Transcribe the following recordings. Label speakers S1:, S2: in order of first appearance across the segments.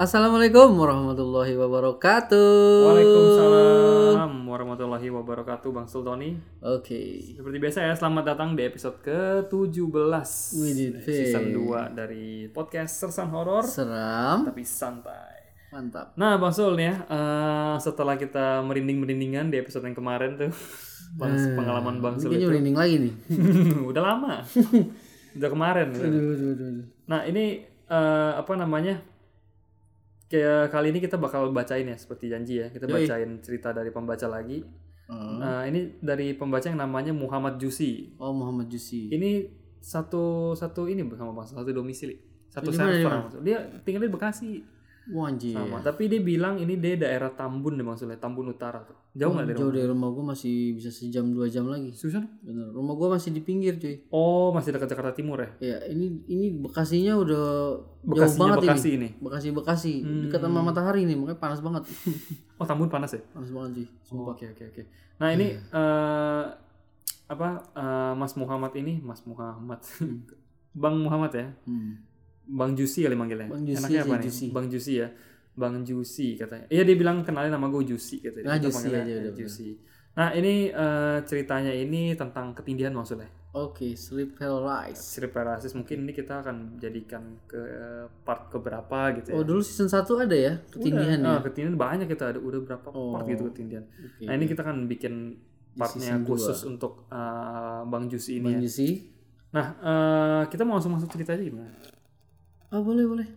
S1: Assalamualaikum warahmatullahi wabarakatuh.
S2: Waalaikumsalam warahmatullahi wabarakatuh Bang Sultoni
S1: Oke.
S2: Seperti biasa ya, selamat datang di episode ke-17
S1: Widih,
S2: Nah, Season
S1: Fe.
S2: 2 dari podcast Sersan Horor
S1: Seram.
S2: Tapi santai
S1: Mantap.
S2: Nah Bang Sul nih ya, eh, setelah kita merinding-merindingan di episode yang kemarin tuh Bang- Pengalaman
S1: Nah, Ini
S2: Bang Sul
S1: kayaknya
S2: itu
S1: merinding lagi nih.
S2: Udah lama Udah kemarin gitu.
S1: Aduh, aduh, aduh, aduh.
S2: Nah ini eh, apa namanya? Kayak kali ini kita bakal bacain ya seperti janji ya. Kita
S1: Yoi.
S2: bacain cerita dari pembaca lagi.
S1: Hmm.
S2: Nah, ini dari pembaca yang namanya Muhammad Jusi.
S1: Oh Muhammad Jusi.
S2: Ini satu satu ini sama Bang satu domisili. Satu
S1: Di mana, di
S2: server.
S1: mana?
S2: maksud- Dia tinggal di Bekasi
S1: Wah anjir.
S2: sama. Tapi dia bilang ini dia daerah Tambun deh maksudnya, Tambun Utara tuh. Jauh nggak dari
S1: Oh, Jauh dari rumah gua masih bisa sejam dua jam lagi.
S2: Susan?
S1: Bener. Rumah gua masih di pinggir cuy.
S2: Oh, masih dekat Jakarta Timur ya.
S1: Ya ini ini Bekasinya udah jauh
S2: Bekasinya
S1: banget
S2: Bekasi Hmm.
S1: ini.
S2: ini.
S1: Bekasi Bekasi dekat sama matahari nih makanya panas banget.
S2: Oh, Tambun panas ya.
S1: panas banget cuy.
S2: Oh, Oke, oke, oke.
S1: Iya.
S2: Nah, ini eh, apa eh, Mas Muhammad ini, Mas Muhammad. Bang Muhammad ya.
S1: Hmm.
S2: Bang Jusi kali manggilnya.
S1: Bang Jusi
S2: Enaknya
S1: sih,
S2: apa nih?
S1: Jusi.
S2: Bang Jusi ya. Bang Jusi katanya. Iya dia bilang kenalin nama gue Jusi katanya.
S1: Nah,
S2: Kita
S1: Jusi
S2: panggilnya
S1: aja udah
S2: Jusi. Nah, ini eh, ceritanya ini tentang ketindihan maksudnya.
S1: Oke, sleep paralysis.
S2: Sleep paralysis mungkin ini kita akan jadikan ke eh, part keberapa gitu ya.
S1: Oh, dulu season 1 ada ya ketindihan
S2: Udah,
S1: ya.
S2: ah, ketindihan banyak kita ada udah berapa part
S1: Oh.
S2: gitu ketindihan.
S1: Oke.
S2: Nah, ini kita akan bikin partnya
S1: season dua.
S2: khusus untuk eh, Bang Jusi ini.
S1: Bang
S2: ya.
S1: Jusi.
S2: Nah, eh, kita mau langsung masuk cerita aja gimana?
S1: Oh, boleh, boleh.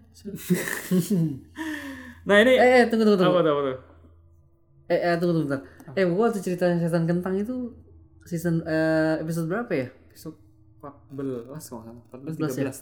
S2: Nah, ini
S1: eh, eh, tunggu, tunggu, tunggu.
S2: apa tuh, apa tuh?
S1: Eh, eh, tunggu, tunggu, bentar. Eh, gua waktu cerita setan kentang itu season eh, episode berapa ya?
S2: episode 14 kalau nggak salah
S1: 14 ya?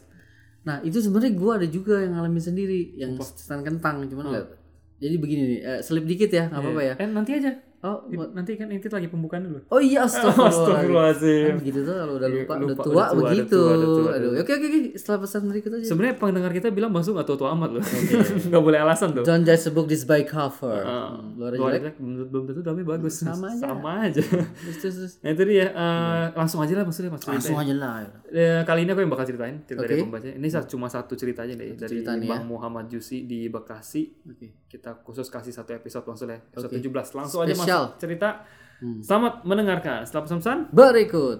S2: 14 13
S1: Nah, itu sebenarnya gua ada juga yang ngalamin sendiri yang setan kentang, cuman
S2: Ah.
S1: nggak- Jadi begini nih, eh, selip dikit ya, nggak apa-apa ya.
S2: eh nanti aja
S1: Oh,
S2: Di- nanti kan ini lagi pembukaan dulu
S1: oh iya, astagfirullah.
S2: Astagfirullahaladzim Iya,
S1: Begitu tuh kalau udah lupa,
S2: Lupa,
S1: udah
S2: udah
S1: tua
S2: tua, udah
S1: begitu.
S2: tua, udah tua,
S1: Aduh, oke oke oke, setelah pesan berikut aja.
S2: sebenarnya pendengar kita bilang masuk nggak tua-tua amat loh nggak boleh alasan tuh
S1: Don't judge a book this by cover.
S2: Ah,
S1: Hmm, Luar
S2: luar
S1: jelek.
S2: jelek menurut belum tentu tapi bagus
S1: Sama aja.
S2: sama aja
S1: Terus, terus, terus.
S2: nah itu dia eh, langsung aja lah maksudnya mas
S1: Langsung aja lah.
S2: Eh, kali ini aku yang bakal ceritain cerita dari
S1: Oke.
S2: pembaca ini sa- cuma satu ceritanya deh dari
S1: cerita nih ya.
S2: Bang Muhammad Jusi di Bekasi
S1: Oke.
S2: kita khusus kasih satu episode langsung ya episode
S1: Oke.
S2: 17 langsung aja
S1: Spesial. Hmm.
S2: masuk cerita selamat mendengarkan setelah pesan-pesan
S1: Berikut.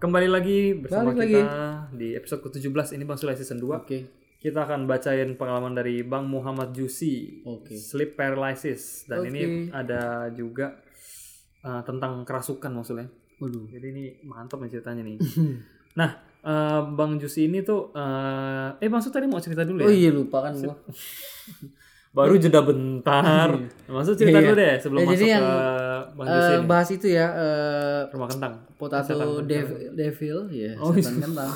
S2: Kembali lagi bersama
S1: Balik
S2: kita di episode ke-17 ini Bang Sulai season 2.
S1: Oke.
S2: Kita akan bacain pengalaman dari Bang Muhammad Jusi,
S1: Oke.
S2: Sleep Paralysis. Dan
S1: Oke.
S2: ini ada juga uh, tentang kerasukan maksudnya.
S1: Waduh.
S2: Jadi ini mantap nih ceritanya nih. nah, uh, Bang Jusi ini tuh uh, eh Bang Sul tadi mau cerita dulu ya?
S1: Oh iya lupa kan gua.
S2: Baru jeda bentar. Maksud cerita
S1: Iya.
S2: dulu deh sebelum
S1: Ya,
S2: masuk
S1: jadi
S2: ke
S1: yang,
S2: Bang Jusi
S1: Eh,
S2: ini.
S1: bahas itu ya eh
S2: Rumah kentang.
S1: potato dev- devil ya,
S2: Oh,
S1: setan kentang.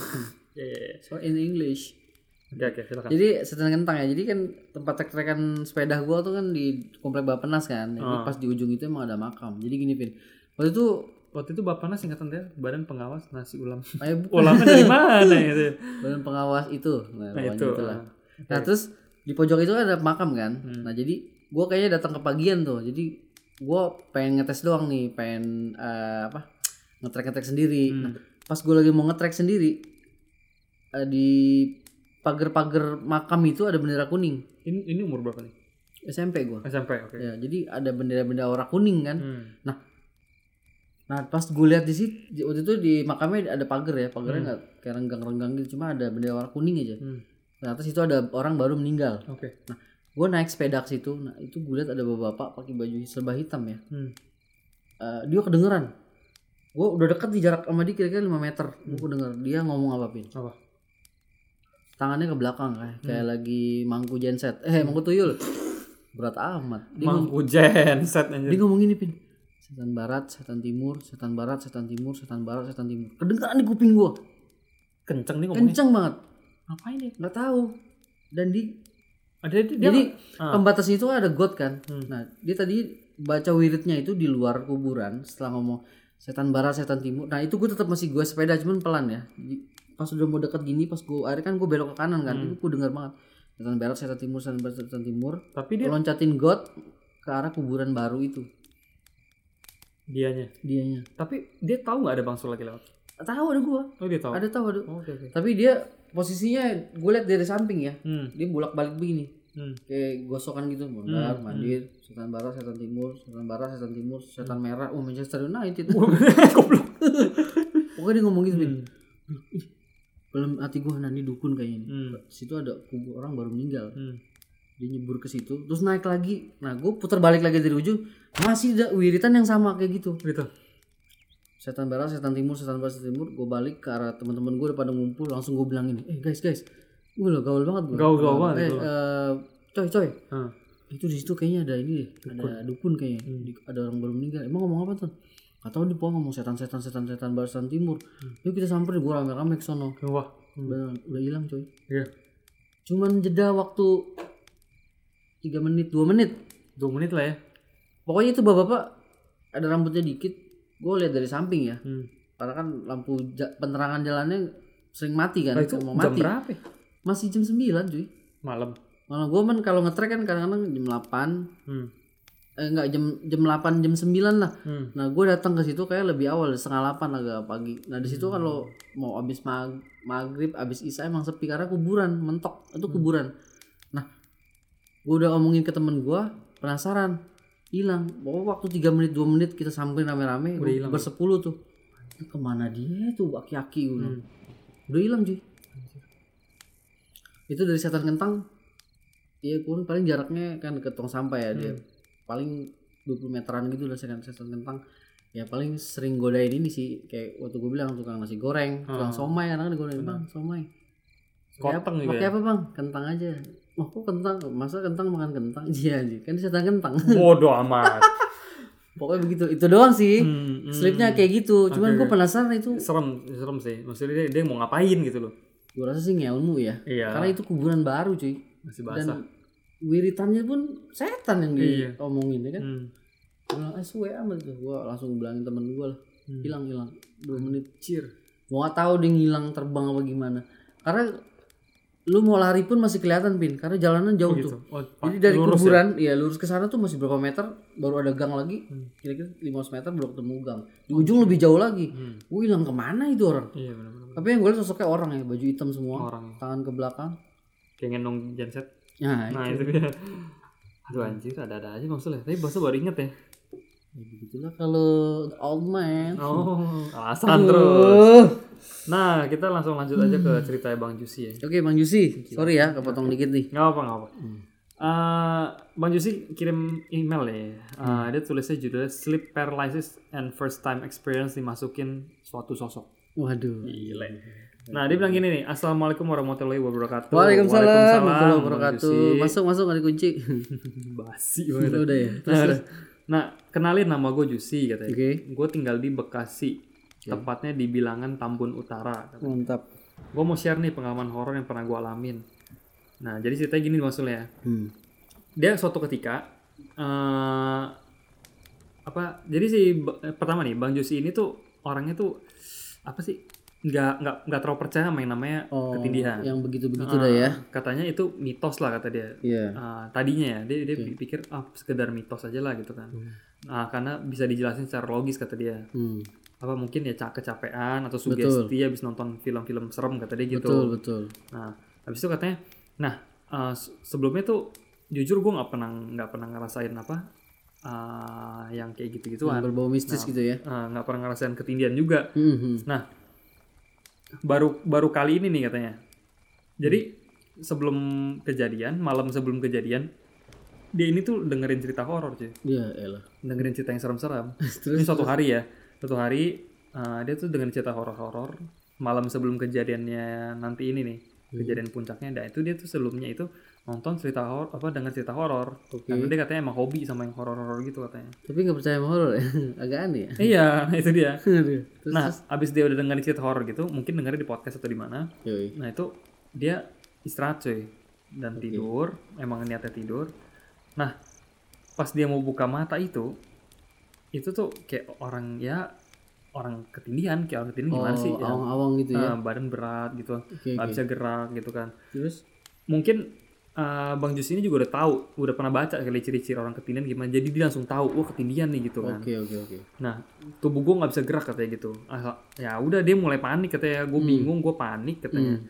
S2: Iya, iya, iya.
S1: So in English.
S2: Oke, oke, silakan.
S1: Jadi setan kentang ya. Jadi kan tempat trek-trekan sepeda gua tuh kan di komplek Bapenas kan. Jadi Pas di ujung itu emang ada makam. Jadi gini, Pin. Waktu itu
S2: Waktu itu Bapanas singkatan dia Badan Pengawas Nasi Ulam.
S1: eh, bu-
S2: ulangnya dari mana gitu
S1: badan pengawas itu. Nah,
S2: nah
S1: pokoknya
S2: itu
S1: itulah. Nah terus di pojok itu ada makam kan.
S2: Hmm.
S1: Nah jadi gua kayaknya datang ke pagian tuh. Jadi gua pengen ngetes doang nih, pengen eh, apa ngetrek ngetrek sendiri.
S2: Hmm.
S1: Nah pas gua lagi mau ngetrek sendiri eh, di pagar-pagar makam itu ada bendera kuning
S2: ini, ini umur berapa nih
S1: SMP gua.
S2: SMP oke
S1: Ya jadi ada bendera-bendera warna kuning kan.
S2: hmm.
S1: Nah pas gue lihat di situ di- waktu itu di makamnya ada pagar ya, pagarnya nggak kayak renggang-renggang gitu, cuma ada bendera warna kuning aja.
S2: Hmm.
S1: Nah terus itu ada orang baru meninggal.
S2: oke
S1: gue naik sepeda ke situ nah itu gue lihat ada bapak pakai baju serba hitam ya
S2: hmm.
S1: Eh, dia kedengeran gue udah deket di jarak sama dia kira-kira 5 meter gue kedenger dia ngomong apa pin
S2: Apa?
S1: tangannya ke belakang kayak kayak lagi mangku genset eh mangku tuyul berat amat dia, ngom-
S2: mangku genset
S1: dia
S2: anjir
S1: ngomong gini pin setan barat setan timur setan barat setan timur setan barat setan timur kedengeran di kuping gue
S2: kenceng nih ngomongnya
S1: kenceng banget
S2: ngapain nih
S1: nggak tahu dan di
S2: Ada dia- dia-
S1: Jadi
S2: ah.
S1: pembatasnya itu ada God kan.
S2: Hmm.
S1: Nah, dia tadi baca wiridnya itu di luar kuburan setelah ngomong setan barat, setan timur. Nah, itu gue tetap masih gue sepeda cuman pelan ya. Jadi, pas udah mau dekat gini, pas gue akhirnya kan gue belok ke kanan
S2: Hmm.
S1: kan. Itu gue dengar banget. Setan barat, setan timur, setan barat, setan timur.
S2: tapi dia
S1: Loncatin God ke arah kuburan baru itu
S2: dianya.
S1: dianya.
S2: Tapi dia tahu nggak ada bangsu lagi lewat?
S1: Tahu ada gue.
S2: Oh dia tahu.
S1: Ada tahu ada.
S2: Oh, Oke oke.
S1: Tapi dia posisinya gue lihat dari samping ya.
S2: Hmm.
S1: Dia bolak-balik begini.
S2: Hmm.
S1: kayak gosokan gitu mondar
S2: Hmm,
S1: mandir setan barat setan timur setan barat setan timur setan
S2: Hmm.
S1: merah oh Manchester United
S2: Goblok.
S1: pokoknya dia ngomong gitu Bin.
S2: Hmm.
S1: Ih, dalam hati gua nanti dukun kayaknya ini
S2: Hmm.
S1: situ ada kubur orang baru meninggal
S2: Hmm.
S1: dia nyebur ke situ terus naik lagi nah gue putar balik lagi dari ujung masih ada wiritan yang sama kayak gitu
S2: Gitu.
S1: setan barat setan timur setan barat setan timur gue balik ke arah teman-teman gue udah pada ngumpul langsung gue bilang ini eh guys guys gue lo gaul banget gue
S2: Gaul-gaul
S1: eh,
S2: banget gua.
S1: eh, coy coy
S2: Ah.
S1: itu di situ kayaknya ada ini deh, ada dukun kayaknya
S2: Hmm.
S1: Di- ada orang baru meninggal emang ngomong apa tuh atau di pohon ngomong setan setan setan setan barisan timur
S2: Hmm.
S1: yuk kita samperin gua rame rame ke sono
S2: Wah. Hmm.
S1: udah udah hilang coy
S2: Iya.
S1: cuman jeda waktu tiga menit dua menit
S2: Dua menit lah ya.
S1: pokoknya itu bapak bapak ada rambutnya dikit gua lihat dari samping ya
S2: Hmm.
S1: karena kan lampu ja- penerangan jalannya sering mati kan
S2: Nah, itu
S1: mau
S2: jam
S1: mati
S2: berapa? ya?
S1: masih jam 9 cuy
S2: Malam.
S1: malah gua men kalau ngetrek kan kadang-kadang jam 8
S2: Hmm.
S1: eh, enggak jam jam 8 jam 9 lah
S2: Hmm.
S1: Nah, gue datang ke situ kayak lebih awal setengah delapan agak pagi. Nah, di situ kalau mau abis mag- maghrib, abis isya emang sepi karena kuburan mentok itu
S2: Hmm.
S1: kuburan. Nah, gue udah ngomongin ke temen gue, penasaran, hilang. Pokoknya waktu tiga menit dua menit kita samperin rame-rame,
S2: Udah
S1: udah
S2: hilang,
S1: bersepuluh tuh. Ini Kemana dia tuh aki-aki gue?
S2: Hmm.
S1: Udah hilang cuy. Itu dari setan kentang. Iya pun paling jaraknya kan ke tong sampah ya
S2: Hmm.
S1: dia. Paling 20 meteran gitu lah setan setan kentang. Ya paling sering godain ini sih kayak waktu gue bilang tukang nasi goreng, tukang
S2: Ah.
S1: somai kadang kan digodain bang somai. Kayak
S2: Koteng juga
S1: pakai
S2: ya.
S1: apa bang? Kentang aja. Oh kok kentang? Masa kentang makan kentang? Iya anjir. Kan setan kentang.
S2: Bodoh amat.
S1: Pokoknya begitu. Itu doang sih.
S2: Hmm, hmm.
S1: Slipnya kayak gitu. Cuman
S2: Oke,
S1: gue
S2: oke.
S1: penasaran itu.
S2: serem serem sih maksudnya dia, dia mau ngapain gitu loh
S1: Gue rasa sih ngelmu ya.
S2: iya
S1: Karena itu kuburan baru cuy.
S2: masih
S1: dan
S2: basah
S1: wiritannya pun setan yang
S2: Iya.
S1: diomongin ya kan
S2: Hmm.
S1: Gua bilang ah suwe amat tuh gue langsung bilangin temen gue lah
S2: Hmm.
S1: hilang hilang dua menit
S2: Cir.
S1: gue nggak tahu dia ngilang terbang apa gimana karena lu mau lari pun masih kelihatan pin karena jalanan jauh
S2: Oh, gitu.
S1: tuh
S2: Oh,
S1: jadi dari
S2: lurus ya?
S1: kuburan ya? lurus ke sana tuh masih berapa meter baru ada gang lagi
S2: Hmm.
S1: kira-kira 500 meter baru ketemu gang di ujung lebih jauh lagi
S2: Hmm.
S1: gue hilang kemana itu orang
S2: Iya benar-benar.
S1: tapi yang gue lihat sosoknya orang ya baju hitam semua
S2: Orang
S1: tangan ke belakang
S2: kayak ngendong genset.
S1: nah,
S2: Nah, itu dia. Aduh anjir, ada-ada aja maksudnya. Tapi bahasa baru inget ya.
S1: Ya, begitulah kalau the old man.
S2: Oh, alasan terus.
S1: Aduh.
S2: Nah, kita langsung lanjut aja ke cerita Bang Jusi ya.
S1: Oke Bang Yusi, sorry ya kepotong dikit nih.
S2: Gak apa, gak apa. Eh, Bang Jusi kirim email ya. Eh, Dia tulisnya judulnya Sleep Paralysis and First Time Experience dimasukin suatu sosok.
S1: Waduh.
S2: Gila. Nah, dia bilang gini nih, Assalamualaikum warahmatullahi wabarakatuh.
S1: Waalaikumsalam warahmatullahi
S2: Bang
S1: wabarakatuh.
S2: Jusi.
S1: Masuk masuk ada kunci.
S2: Basi banget.
S1: Udah ya.
S2: Nah, terus, nah, kenalin nama gue Jusi katanya.
S1: Oke.
S2: Gue tinggal di Bekasi, tepatnya di bilangan Tambun Utara.
S1: Mantap.
S2: Gue mau share nih pengalaman horor yang pernah gue alamin. Nah, jadi ceritanya gini maksudnya ya.
S1: Hmm.
S2: Dia suatu ketika eh apa? Jadi si Ba- eh, pertama nih Bang Jusi ini tuh orangnya tuh apa sih? Nggak nggak nggak terlalu percaya sama yang namanya
S1: Oh,
S2: ketindihan.
S1: yang begitu-begitu
S2: Ah,
S1: dah ya.
S2: Katanya itu mitos lah kata dia.
S1: Iya.
S2: Uh, tadinya ya dia dia pikir ah sekedar mitos aja lah gitu kan Nah, karena bisa dijelasin secara logis kata dia
S1: Hmm.
S2: apa mungkin ya ca- kecapean atau sugesti habis nonton film-film serem kata dia gitu
S1: Betul, betul.
S2: nah habis itu katanya nah uh, se- sebelumnya tuh jujur gue nggak pernah nggak pernah ngerasain apa uh, yang kayak gitu
S1: Yang
S2: gituan
S1: berbau mistis gitu ya.
S2: nggak pernah ngerasain ketindian juga
S1: Hmm, hmm.
S2: Nah, baru baru kali ini nih katanya. Jadi sebelum kejadian, malam sebelum kejadian, dia ini tuh dengerin cerita horor cuy.
S1: Iya, elah.
S2: Dengerin cerita yang serem-serem.
S1: Terus
S2: Ini suatu hari ya, suatu hari eh, dia tuh dengerin cerita horor-horor malam sebelum kejadiannya nanti ini nih,
S1: Hmm.
S2: kejadian puncaknya. Dan itu dia tuh sebelumnya itu nonton cerita horor apa dengar cerita horor.
S1: Oke. Hmm.
S2: Karena dia katanya emang hobi sama yang horor-horor gitu katanya.
S1: Tapi nggak percaya sama horor ya. Agak aneh ya.
S2: iya, itu dia.
S1: Aduh. Terus
S2: Nah, abis dia udah dengerin cerita horor gitu, mungkin dengerin di podcast atau di mana,
S1: yoi.
S2: Nah itu dia istirahat cuy. dan tidur emang niatnya tidur nah pas dia mau buka mata itu itu tuh kayak orang ya orang ketindihan kayak orang ketindihan gimana sih
S1: Oh,
S2: ya,
S1: awang-awang gitu ya.
S2: eh, badan berat gitu
S1: Oke,
S2: nggak
S1: oke.
S2: bisa gerak gitu kan
S1: Terus
S2: mungkin eh, Bang Jus ini juga udah tahu, udah pernah baca kali ciri-ciri orang ketindihan gimana. Jadi dia langsung tahu, wah ketindihan nih gitu kan.
S1: oke oke oke.
S2: Nah, tubuh gue nggak bisa gerak katanya gitu. Ah, ya udah dia mulai panik katanya, gue bingung, gue panik katanya.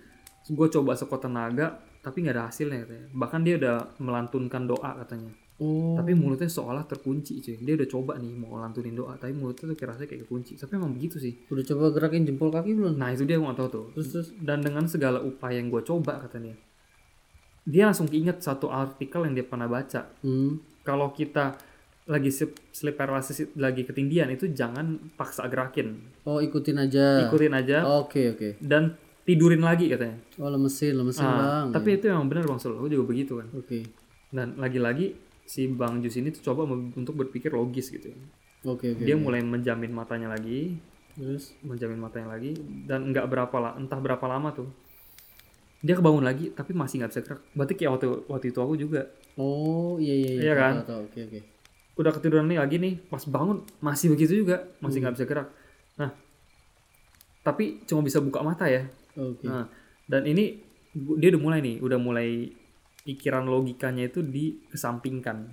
S2: Gue coba sekuat tenaga, tapi nggak ada hasilnya katanya. Bahkan dia udah melantunkan doa katanya.
S1: Oh.
S2: Tapi mulutnya seolah terkunci cuy. Dia udah coba nih mau lantunin doa, tapi mulutnya tuh kayak rasanya kayak kekunci. Tapi emang begitu sih.
S1: Udah coba gerakin jempol kaki belum?
S2: Nah itu dia gue nggak tahu tuh
S1: Terus terus
S2: dan dengan segala upaya yang gue coba katanya dia langsung keinget satu artikel yang dia pernah baca
S1: hmm.
S2: kalau kita lagi sleep, sleep paralysis lagi ketindihan itu jangan paksa gerakin
S1: Oh, ikutin aja.
S2: ikutin aja
S1: Oke oke.
S2: dan tidurin lagi katanya
S1: Oh, lemesin, lemesin,
S2: Ah,
S1: Bang.
S2: tapi itu emang benar bang Sul gue juga begitu kan
S1: Oke.
S2: dan lagi-lagi si bang Jus ini tuh coba mem- untuk berpikir logis gitu ya.
S1: Oke oke.
S2: dia mulai menjamin matanya lagi
S1: Terus
S2: menjamin matanya lagi dan nggak berapa lah entah berapa lama tuh dia kebangun lagi tapi masih nggak bisa gerak berarti kayak waktu waktu itu aku juga
S1: Oh, iya iya
S2: Iya
S1: Tahu,
S2: kan?
S1: tahu, tahu. Oke oke.
S2: udah ketiduran nih lagi nih pas bangun masih begitu juga masih nggak bisa gerak nah tapi cuma bisa buka mata ya
S1: Oke.
S2: nah dan ini bu- dia udah mulai nih udah mulai pikiran logikanya itu dikesampingkan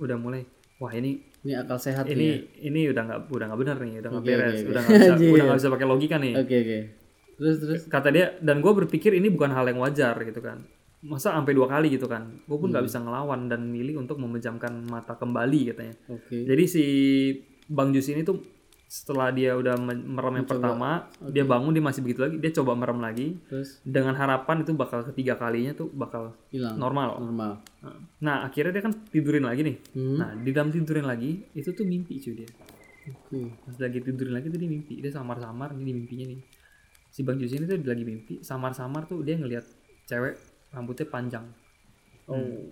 S2: udah mulai wah ini
S1: Ini akal sehat
S2: ini
S1: nih. ya?
S2: ini udah nggak udah nggak benar nih udah nggak
S1: Oke,
S2: beres
S1: oke, oke.
S2: udah nggak bisa
S1: Anjir.
S2: udah nggak bisa pakai logika nih
S1: ya? Oke oke. Terus terus.
S2: kata dia dan gue berpikir ini bukan hal yang wajar gitu kan masa sampai dua kali gitu kan gue pun nggak bisa ngelawan dan milih untuk memejamkan mata kembali katanya
S1: Oke.
S2: jadi si bang Jus ini tuh setelah dia udah men- merem yang pertama dia bangun dia masih begitu lagi dia coba merem lagi
S1: Terus
S2: dengan harapan itu bakal ketiga kalinya tuh bakal
S1: hilang.
S2: normal
S1: Normal.
S2: nah akhirnya dia kan tidurin lagi nih
S1: Hmm.
S2: nah di dalam tidurin lagi itu tuh mimpi cuy dia
S1: Oke.
S2: pas lagi tidurin lagi tuh dia mimpi dia samar-samar ini di mimpinya nih si bang Jus ini tuh lagi mimpi samar-samar tuh dia ngelihat cewek rambutnya panjang
S1: Oh.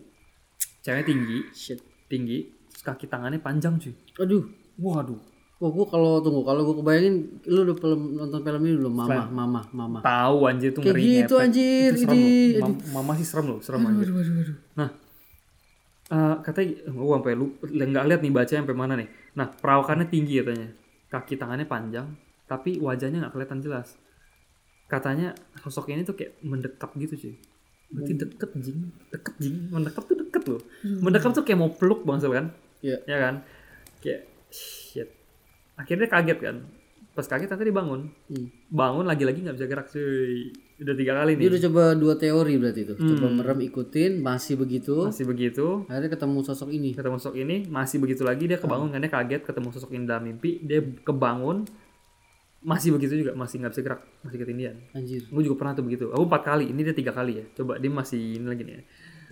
S2: cewek tinggi
S1: Shit.
S2: tinggi terus kaki tangannya panjang cuy
S1: Aduh.
S2: waduh
S1: Wah, gua kalau tunggu, kalau gua kebayangin lu udah film, nonton film ini belum? Mama, mama, mama.
S2: tahu anjir tuh
S1: Kayak
S2: ngeri
S1: gitu anjir, Hmm.
S2: Itu serem
S1: ini.
S2: loh. Mam- mama sih serem loh serem anjir nah eh katanya gua sampai lupa nggak lihat nih bacanya sampai mana nih nah perawakannya tinggi katanya kaki tangannya panjang tapi wajahnya nggak kelihatan jelas katanya sosok ini tuh kayak mendekat gitu cuy berarti
S1: Hmm.
S2: deket jing deket jing mendekat tuh deket loh mendekat tuh kayak mau peluk bangsa kan
S1: Iya.
S2: ya kan kayak shit akhirnya kaget kan pas kaget akhirnya dia bangun
S1: Hmm.
S2: bangun lagi-lagi nggak bisa gerak cuy udah tiga kali
S1: Dia
S2: nih
S1: udah coba dua teori berarti itu. Coba merem ikutin, masih begitu.
S2: Hmm. masih begitu
S1: Akhirnya ketemu sosok ini.
S2: ketemu sosok ini masih begitu lagi dia kebangun karena kaget ketemu sosok ini dalam mimpi dia kebangun masih begitu juga masih nggak bisa gerak masih ketindihan
S1: Anjir.
S2: gue juga pernah tuh begitu aku empat kali ini dia tiga kali ya coba dia masih ini lagi nih ya.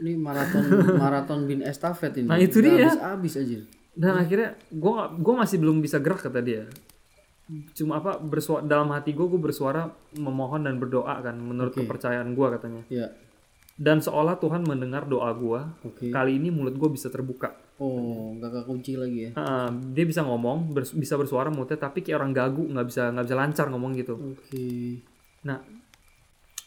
S1: Ini maraton maraton bin estafet ini.
S2: Nah, itu
S1: Nggak
S2: dia.
S1: Habis-habis anjir.
S2: dan akhirnya gue gue masih belum bisa gerak kata dia cuma apa bersuara dalam hati gue gue bersuara memohon dan berdoa kan menurut kepercayaan gue katanya
S1: Iya.
S2: dan seolah Tuhan mendengar doa gue
S1: Oke.
S2: kali ini mulut gue bisa terbuka
S1: Oh, nggak kekunci lagi ya.
S2: Heeh, dia bisa ngomong bers- bisa bersuara mulutnya tapi kayak orang gagu nggak bisa nggak bisa lancar ngomong gitu
S1: Oke.
S2: nah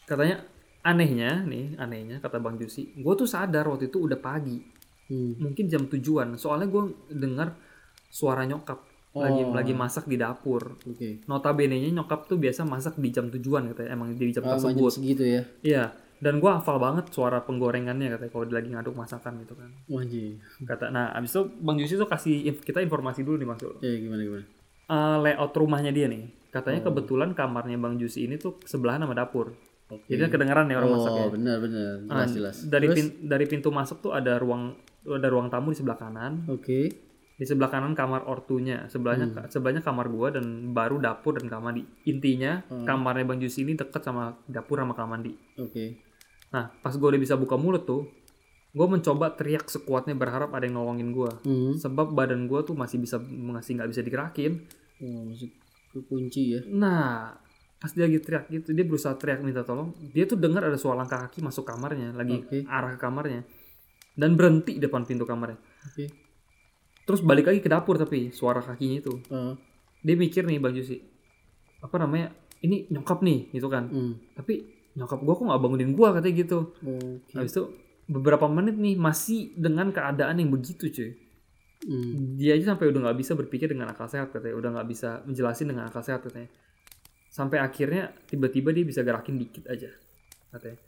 S2: katanya anehnya nih anehnya kata bang Jusi gue tuh sadar waktu itu udah pagi
S1: Hmm.
S2: mungkin jam tujuan soalnya gue dengar suara nyokap lagi
S1: Oh.
S2: lagi masak di dapur
S1: Oke.
S2: notabene nya nyokap tuh biasa masak di jam tujuan katanya emang di jam
S1: Ah, jam
S2: tersebut
S1: segitu ya.
S2: iya dan gue hafal banget suara penggorengannya katanya kalau dia lagi ngaduk masakan gitu kan
S1: Wah, anjir.
S2: kata nah abis itu bang Jusi tuh kasih inf- kita informasi dulu nih maksud
S1: Ya gimana gimana.
S2: Eh, layout rumahnya dia nih. Katanya
S1: Oh.
S2: kebetulan kamarnya Bang Jusi ini tuh sebelahan sama dapur.
S1: Oke.
S2: Jadi kan kedengeran nih orang masaknya.
S1: Iya. Oh, benar benar. Jelas jelas.
S2: Dari pin- dari pintu masuk tuh ada ruang ada ruang tamu di sebelah kanan.
S1: Oke.
S2: Di sebelah kanan kamar ortunya, sebelahnya
S1: Hmm.
S2: sebelahnya kamar gua dan baru dapur dan kamar mandi. Intinya
S1: Hmm.
S2: kamarnya Bang Jusi ini deket sama dapur sama kamar mandi.
S1: Oke.
S2: Nah, pas gua udah bisa buka mulut tuh, gua mencoba teriak sekuatnya berharap ada yang nolongin gua.
S1: Hmm.
S2: Sebab badan gua tuh masih bisa masih nggak bisa digerakin.
S1: Oh, masih kekunci ya.
S2: Nah, pas dia lagi teriak gitu, dia berusaha teriak minta tolong. Dia tuh dengar ada suara langkah kaki masuk kamarnya, lagi
S1: Oke.
S2: arah ke kamarnya. Dan berhenti depan pintu kamarnya.
S1: Oke.
S2: Terus balik lagi ke dapur tapi suara kakinya itu.
S1: Ah,
S2: Dia mikir nih Bang Jusi, apa namanya, ini nyokap nih gitu kan.
S1: hmm.
S2: Tapi nyokap gue kok nggak bangunin gue katanya gitu
S1: Oke.
S2: habis itu beberapa menit nih masih dengan keadaan yang begitu cuy
S1: Hmm.
S2: dia aja sampai udah nggak bisa berpikir dengan akal sehat katanya udah nggak bisa menjelasin dengan akal sehat katanya sampai akhirnya tiba-tiba dia bisa gerakin dikit aja katanya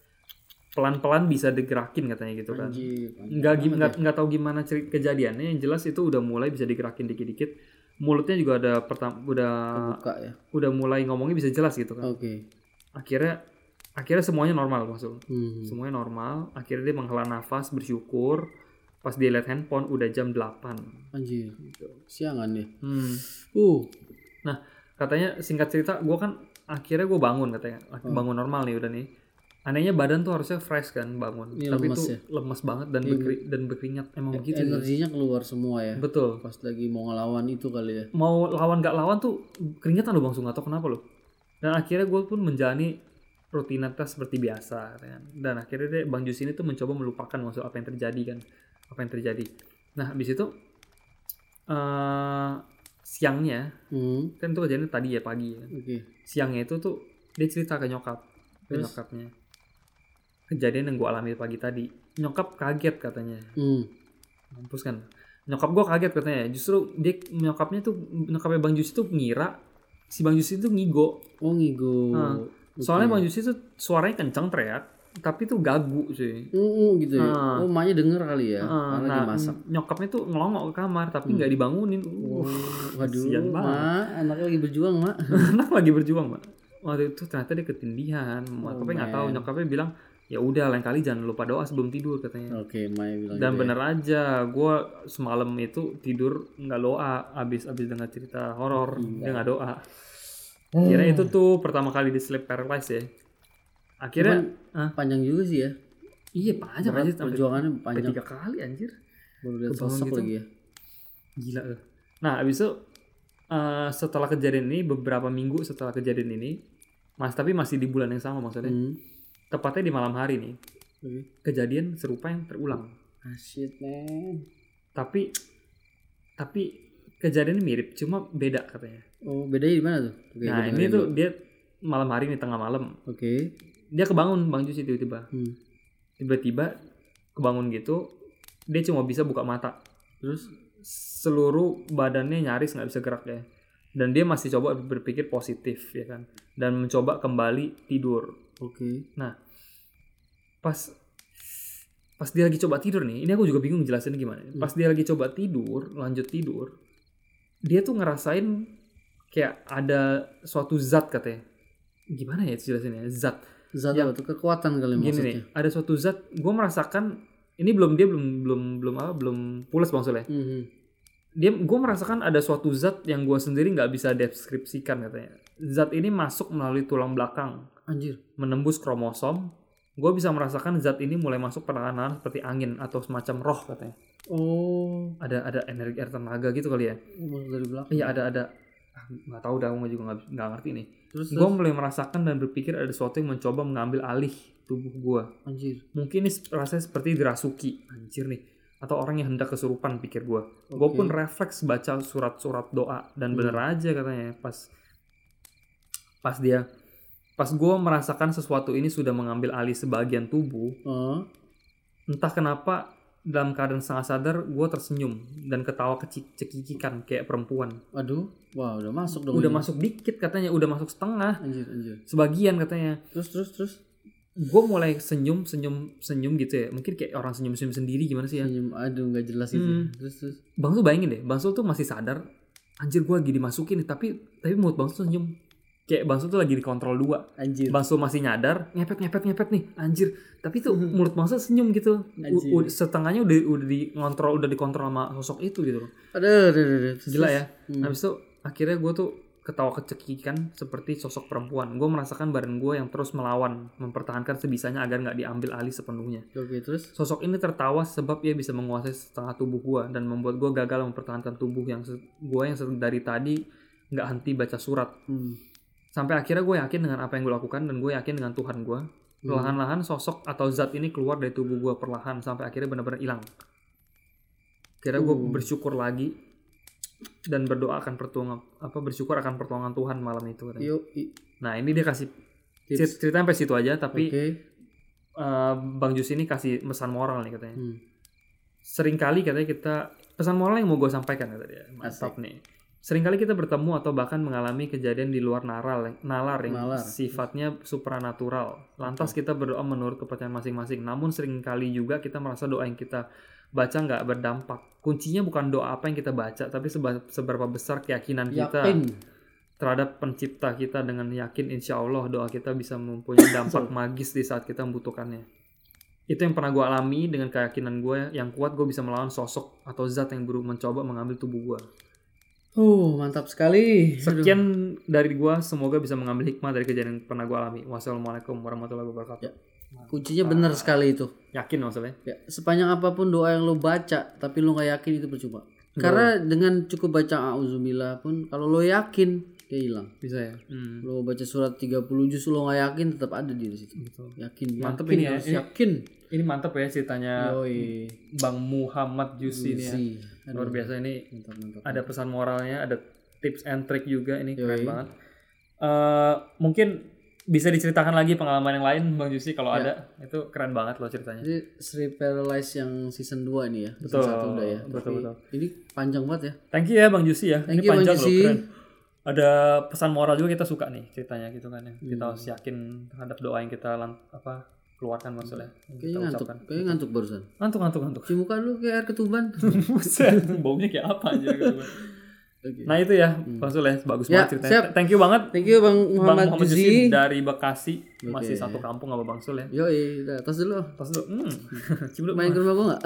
S2: pelan-pelan bisa digerakin katanya gitu kan
S1: Anjir, anjir
S2: nggak
S1: banget
S2: gim-
S1: ya.
S2: nggak nggak tahu gimana cerita kejadiannya yang jelas itu udah mulai bisa digerakin dikit-dikit mulutnya juga ada pertam udah
S1: Kebuka ya.
S2: udah mulai ngomongnya bisa jelas gitu kan
S1: Oke.
S2: akhirnya akhirnya semuanya normal langsung
S1: Hmm.
S2: semuanya normal akhirnya dia menghela nafas bersyukur pas dia lihat handphone udah jam 8
S1: Anjir. Siangan ya.
S2: hmm.
S1: Uh.
S2: Nah, katanya singkat cerita, gue kan akhirnya gue bangun katanya,
S1: Hmm.
S2: bangun normal nih udah nih. Anehnya badan tuh harusnya fresh kan bangun,
S1: Iya,
S2: tapi
S1: lemes
S2: itu
S1: ya.
S2: lemes banget dan berkeri- dan berkeringat emang begitu. ya.
S1: Energinya keluar semua ya.
S2: Betul.
S1: Pas lagi mau ngelawan itu kali ya.
S2: Mau lawan gak lawan tuh keringetan lo langsung nggak tau kenapa lo. Dan akhirnya gue pun menjalani rutinitas seperti biasa katanya. Dan akhirnya deh Bang Jus ini tuh mencoba melupakan maksud apa yang terjadi kan, apa yang terjadi. Nah, habis itu eh siangnya
S1: Hmm.
S2: kan itu kejadiannya tadi ya pagi ya.
S1: Oke.
S2: siangnya itu tuh dia cerita ke nyokap ke
S1: Terus?
S2: nyokapnya kejadian yang gue alami pagi tadi nyokap kaget katanya
S1: Hmm.
S2: mampus kan nyokap gue kaget katanya justru dia nyokapnya tuh nyokapnya bang Jusi tuh ngira si bang Jusi tuh ngigo
S1: Oh ngigo.
S2: Nah, soalnya bang
S1: Oke.
S2: Jusi tuh suaranya kencang teriak tapi tuh gagu sih
S1: Uh, uh, gitu ya.
S2: Ah.
S1: Oh emaknya denger kali ya.
S2: Heeh,
S1: Karena
S2: nah,
S1: lagi masak.
S2: nyokapnya tuh ngelongok ke kamar tapi nggak dibangunin.
S1: Oh,
S2: Uh,
S1: waduh,
S2: kasihan banget.
S1: mak, anaknya lagi berjuang, mak.
S2: anak lagi berjuang mbak waktu itu ternyata dia ketindihan nyokapnya nggak tahu
S1: Oh, man.
S2: nyokapnya bilang ya udah lain kali jangan lupa doa sebelum tidur katanya
S1: Oke, Maya bilang Oh,
S2: dan
S1: gitu
S2: bener aja gue semalam itu tidur nggak doa abis abis dengar cerita horor
S1: Iya.
S2: dia nggak doa
S1: ya.
S2: kira itu tuh pertama kali di sleep paralysis ya akhirnya
S1: Cuman panjang juga sih ya.
S2: iya panjang
S1: Berat,
S2: aja sampai
S1: perjuangannya
S2: sampai
S1: panjang.
S2: tiga kali anjir
S1: Baru lihat
S2: kebangun
S1: sosok
S2: gitu.
S1: lagi ya.
S2: Gila eh. Nah, abis itu eh, setelah kejadian ini beberapa minggu setelah kejadian ini, Mas tapi masih di bulan yang sama maksudnya.
S1: Hmm.
S2: Tepatnya di malam hari nih,
S1: Oke.
S2: kejadian serupa yang terulang.
S1: Ah, shit, man.
S2: Tapi tapi kejadiannya mirip, cuma beda katanya.
S1: Oh, bedanya di mana tuh? Oke,
S2: nah,
S1: gua
S2: ini
S1: dengerin
S2: tuh
S1: dulu.
S2: dia malam hari nih tengah malam.
S1: Oke.
S2: Dia kebangun Bang Jusi tiba-tiba.
S1: Hmm.
S2: Tiba-tiba kebangun gitu, dia cuma bisa buka mata.
S1: Terus
S2: seluruh badannya nyaris nggak bisa gerak ya dan dia masih coba berpikir positif ya kan dan mencoba kembali tidur
S1: oke.
S2: Nah, pas pas dia lagi coba tidur nih ini aku juga bingung jelasin gimana pas dia lagi coba tidur lanjut tidur dia tuh ngerasain kayak ada suatu zat katanya gimana ya jelasinnya zat
S1: Zat
S2: Ya.
S1: apa tuh kekuatan kali
S2: gini
S1: maksudnya.
S2: nih ada suatu zat gue merasakan ini belum dia belum belum belum apa belum pulas bang Soleh
S1: Mhm.
S2: dia gue merasakan ada suatu zat yang gue sendiri nggak bisa deskripsikan katanya zat ini masuk melalui tulang belakang
S1: Anjir.
S2: menembus kromosom gue bisa merasakan zat ini mulai masuk perlahan-lahan seperti angin atau semacam roh katanya
S1: Oh,
S2: ada ada energi ada tenaga gitu kali ya
S1: masuk dari belakang.
S2: iya ada ada Ah, nggak tahu dah gue juga nggak nggak ngerti nih
S1: Terus
S2: gue
S1: terus.
S2: mulai merasakan dan berpikir ada sesuatu yang mencoba mengambil alih tubuh gue
S1: anjir.
S2: mungkin ini rasanya seperti dirasuki anjir nih atau orang yang hendak kesurupan pikir gue gue
S1: Oke.
S2: pun refleks baca surat-surat doa
S1: Hmm.
S2: dan bener aja katanya pas pas dia pas gue merasakan sesuatu ini sudah mengambil alih sebagian tubuh
S1: Oh,
S2: entah kenapa dalam keadaan setengah sadar gue tersenyum dan ketawa keci- cekikikan kayak perempuan
S1: aduh. Wah, udah masuk dong.
S2: udah
S1: ini.
S2: masuk dikit katanya udah masuk setengah
S1: Anjir, anjir.
S2: sebagian katanya
S1: Terus terus terus.
S2: gue mulai senyum senyum senyum gitu ya mungkin kayak orang senyum senyum sendiri gimana sih ya
S1: Senyum, aduh nggak jelas itu.
S2: Hmm.
S1: Terus terus.
S2: Bang Sul bayangin deh, Bang Sul tuh masih sadar, anjir gua lagi dimasukin nih, tapi tapi mulut Bang Sul senyum. Kayak Bang Sul tuh lagi dikontrol dua.
S1: Anjir.
S2: Bang Sul masih nyadar, ngepet ngepet ngepet nih, anjir. Tapi tuh mulut Bang Sul senyum gitu.
S1: Hmm. Anjir.
S2: U- u- setengahnya udah udah dikontrol, udah dikontrol sama sosok itu gitu loh.
S1: Aduh, aduh, aduh, aduh. Terus,
S2: Gila
S1: terus.
S2: ya.
S1: Hmm.
S2: Habis itu akhirnya gua tuh ketawa kecekikan seperti sosok perempuan. Gua merasakan badan gua yang terus melawan, mempertahankan sebisanya agar nggak diambil alih sepenuhnya.
S1: Oke, terus.
S2: Sosok ini tertawa sebab ia bisa menguasai setengah tubuh gua dan membuat gua gagal mempertahankan tubuh yang se- gua yang se- dari tadi nggak henti baca surat.
S1: Hmm.
S2: Sampai akhirnya gue yakin dengan apa yang gue lakukan dan gue yakin dengan Tuhan gua.
S1: Hmm.
S2: Perlahan-lahan sosok atau zat ini keluar dari tubuh gua perlahan sampai akhirnya benar-benar hilang. Kira gue
S1: Uh.
S2: bersyukur lagi dan berdoa akan pertolongan apa bersyukur akan pertolongan Tuhan malam itu katanya.
S1: Yo, i-
S2: Nah ini dia kasih
S1: Iya. Tips.
S2: Cer- Cerita sampai situ aja, tapi
S1: Oke.
S2: eh, Bang Jus ini kasih pesan moral nih katanya.
S1: Hmm.
S2: Seringkali katanya kita pesan moral yang mau gue sampaikan kata dia. Mantap nih. Seringkali kita bertemu atau bahkan mengalami kejadian di luar naral, nalar yang
S1: Nalar.
S2: sifatnya supranatural. Lantas kita berdoa menurut kepercayaan masing-masing. Namun seringkali juga kita merasa doa yang kita baca nggak berdampak. Kuncinya bukan doa apa yang kita baca, tapi seba- seberapa besar keyakinan kita
S1: Yakin.
S2: terhadap pencipta kita dengan yakin insya Allah doa kita bisa mempunyai dampak magis di saat kita membutuhkannya. Itu yang pernah gue alami dengan keyakinan gue yang kuat gue bisa melawan sosok atau zat yang baru mencoba mengambil tubuh gue.
S1: Uh, mantap sekali.
S2: Sekian dari gue, semoga bisa mengambil hikmah dari kejadian yang pernah gue alami. Wassalamualaikum warahmatullahi wabarakatuh.
S1: Ya. Kuncinya benar
S2: Ah.
S1: sekali itu.
S2: Yakin maksudnya?
S1: Ya, sepanjang apapun doa yang lu baca tapi lu nggak yakin itu percuma. Karena dengan cukup baca auzubillah pun kalau lu yakin dia hilang.
S2: Bisa ya? Hmm.
S1: Lu baca surat 30 juz lu nggak yakin tetap ada di situ.
S2: Betul.
S1: Yakin.
S2: Mantep
S1: yakin,
S2: ini ya, ini-
S1: Yakin.
S2: Ini mantep ya
S1: Iya.
S2: ceritanya
S1: Yoi.
S2: Bang Muhammad Jusi ini ya.
S1: Sih. Iya. Aduh,
S2: Luar biasa ini
S1: Mantap, mantap.
S2: ada pesan moralnya, ada tips and trick juga ini keren
S1: Yoi.
S2: banget. Eh, mungkin bisa diceritakan lagi pengalaman yang lain Bang Jusi kalau
S1: Ya.
S2: ada. Itu keren banget loh ceritanya.
S1: Jadi Sri Paralyze yang season 2 ini ya.
S2: Betul,
S1: Season 1 udah ya.
S2: betul,
S1: Tapi
S2: betul.
S1: Ini panjang banget ya.
S2: Thank you ya Bang Jusi ya.
S1: Thank
S2: ini
S1: you, Bang
S2: panjang loh,
S1: Jusi.
S2: keren. Ada pesan moral juga kita suka nih ceritanya gitu kan ya. Kita
S1: Hmm.
S2: harus yakin terhadap doa yang kita lan- apa keluarkan maksudnya.
S1: Kayaknya
S2: Yang kita
S1: ngantuk.
S2: ucapkan.
S1: Kayaknya ngantuk barusan.
S2: Gitu. Ngantuk ngantuk ngantuk.
S1: Cuci muka lu kayak air ketuban.
S2: Buset, baunya kayak apa aja gitu.
S1: Oke.
S2: Nah itu ya, Bang Sule, bagus
S1: Ya,
S2: banget ceritanya.
S1: siap.
S2: Thank you banget
S1: Thank you Bang
S2: Bang
S1: Muhammad,
S2: Muhammad Jusi
S1: Juzi.
S2: dari Bekasi, masih
S1: Oke.
S2: satu kampung sama Bang Sul ya.
S1: Yo, iya, tos dulu.
S2: Pas dulu, hmm, cibluk
S1: Main ke rumah gua enggak?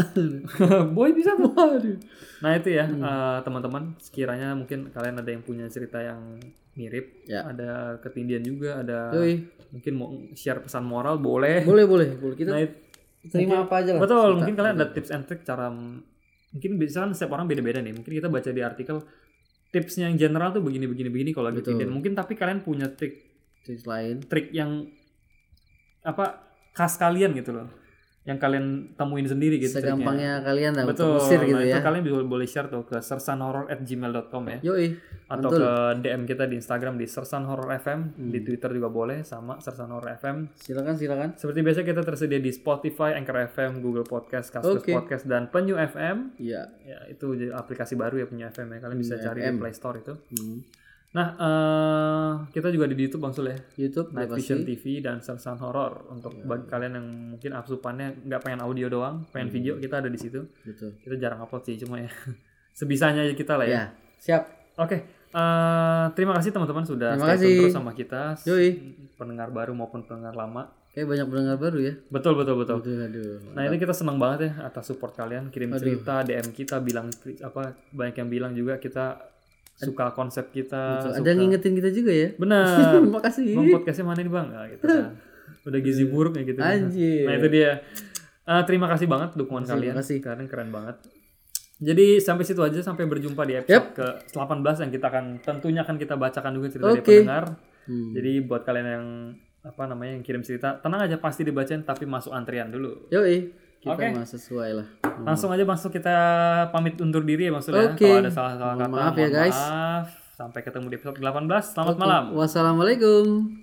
S2: Boy bisa Boy. Nah itu ya
S1: Hmm.
S2: eh, teman-teman, sekiranya mungkin kalian ada yang punya cerita yang mirip,
S1: Ya.
S2: ada ketindian juga, ada
S1: Yoi.
S2: mungkin mau share pesan moral boleh.
S1: Boleh, boleh. Boleh kita
S2: Nah, it-
S1: terima apa aja lah.
S2: betul,
S1: Cerita.
S2: mungkin kalian ada tips and trick cara mungkin bisa kan setiap orang beda-beda nih. Mungkin kita baca di artikel tipsnya yang general tuh begini-begini begini kalau
S1: Betul.
S2: ketindian. Mungkin tapi kalian punya trik
S1: tips lain.
S2: trik yang apa khas kalian gitu loh yang kalian temuin sendiri gitu triknya.
S1: Segampangnya kalian lah
S2: betul
S1: untuk usir
S2: Nah,
S1: gitu
S2: itu
S1: ya.
S2: kalian bisa boleh share tuh ke sersanhoror@gmail.com ya
S1: Yo,
S2: atau
S1: Betul. Hmm.
S2: ke DM kita di Instagram di sersanhoror.fm di Twitter juga boleh sama sersanhoror.fm
S1: silakan silakan.
S2: seperti biasa kita tersedia di Spotify, Anchor FM, Google Podcast, Kaskus
S1: Oke.
S2: Podcast dan Penyu FM.
S1: Iya.
S2: Ya, itu jadi aplikasi baru ya Penyu FM ya. Kalian bisa
S1: Penyu
S2: cari di
S1: FM.
S2: Play Store itu.
S1: Hmm.
S2: Nah, eh, kita juga ada di YouTube Bang Sul ya.
S1: YouTube
S2: Night
S1: udah
S2: Vision
S1: pasti.
S2: TV dan Sersan Horor untuk
S1: Iya.
S2: bagi kalian yang mungkin absupannya nggak pengen audio doang, pengen
S1: Hmm.
S2: video kita ada di situ.
S1: Betul.
S2: Kita jarang upload sih, cuma ya sebisanya aja kita lah ya.
S1: Ya, siap.
S2: Oke, eh, terima kasih teman-teman sudah
S1: Terima
S2: stay tune
S1: kasih.
S2: terus sama kita, s-
S1: Yoi.
S2: pendengar baru maupun pendengar lama.
S1: Kayak banyak pendengar baru ya.
S2: Betul betul betul.
S1: Aduh, aduh.
S2: Nah ini kita senang banget ya atas support kalian, kirim cerita, DM kita, bilang kri- apa banyak yang bilang juga kita suka konsep kita.
S1: Betul.
S2: suka-
S1: Ada yang ngingetin kita juga ya.
S2: Benar.
S1: Makasih.
S2: Bang podcastnya mana nih bang? Nah, gitu kan. Udah gizi buruk ya gitu.
S1: Anjir.
S2: Nah itu dia. Eh, terima kasih banget dukungan kalian.
S1: makasih.
S2: Kalian keren banget. Jadi sampai situ aja sampai berjumpa di episode ke 18 yang kita akan tentunya akan kita bacakan juga cerita dari
S1: Oke.
S2: pendengar.
S1: Hmm.
S2: Jadi buat kalian yang apa namanya yang kirim cerita, tenang aja pasti dibacain tapi masuk antrian dulu.
S1: Yo, kita
S2: Oke.
S1: mah sesuai lah.
S2: Langsung aja masuk kita pamit undur diri ya maksudnya.
S1: Oke.
S2: Kalau ada salah-salah
S1: Mohon
S2: kata
S1: maaf ya, guys.
S2: maaf. Sampai ketemu di episode 18. Selamat malam.
S1: Wassalamualaikum.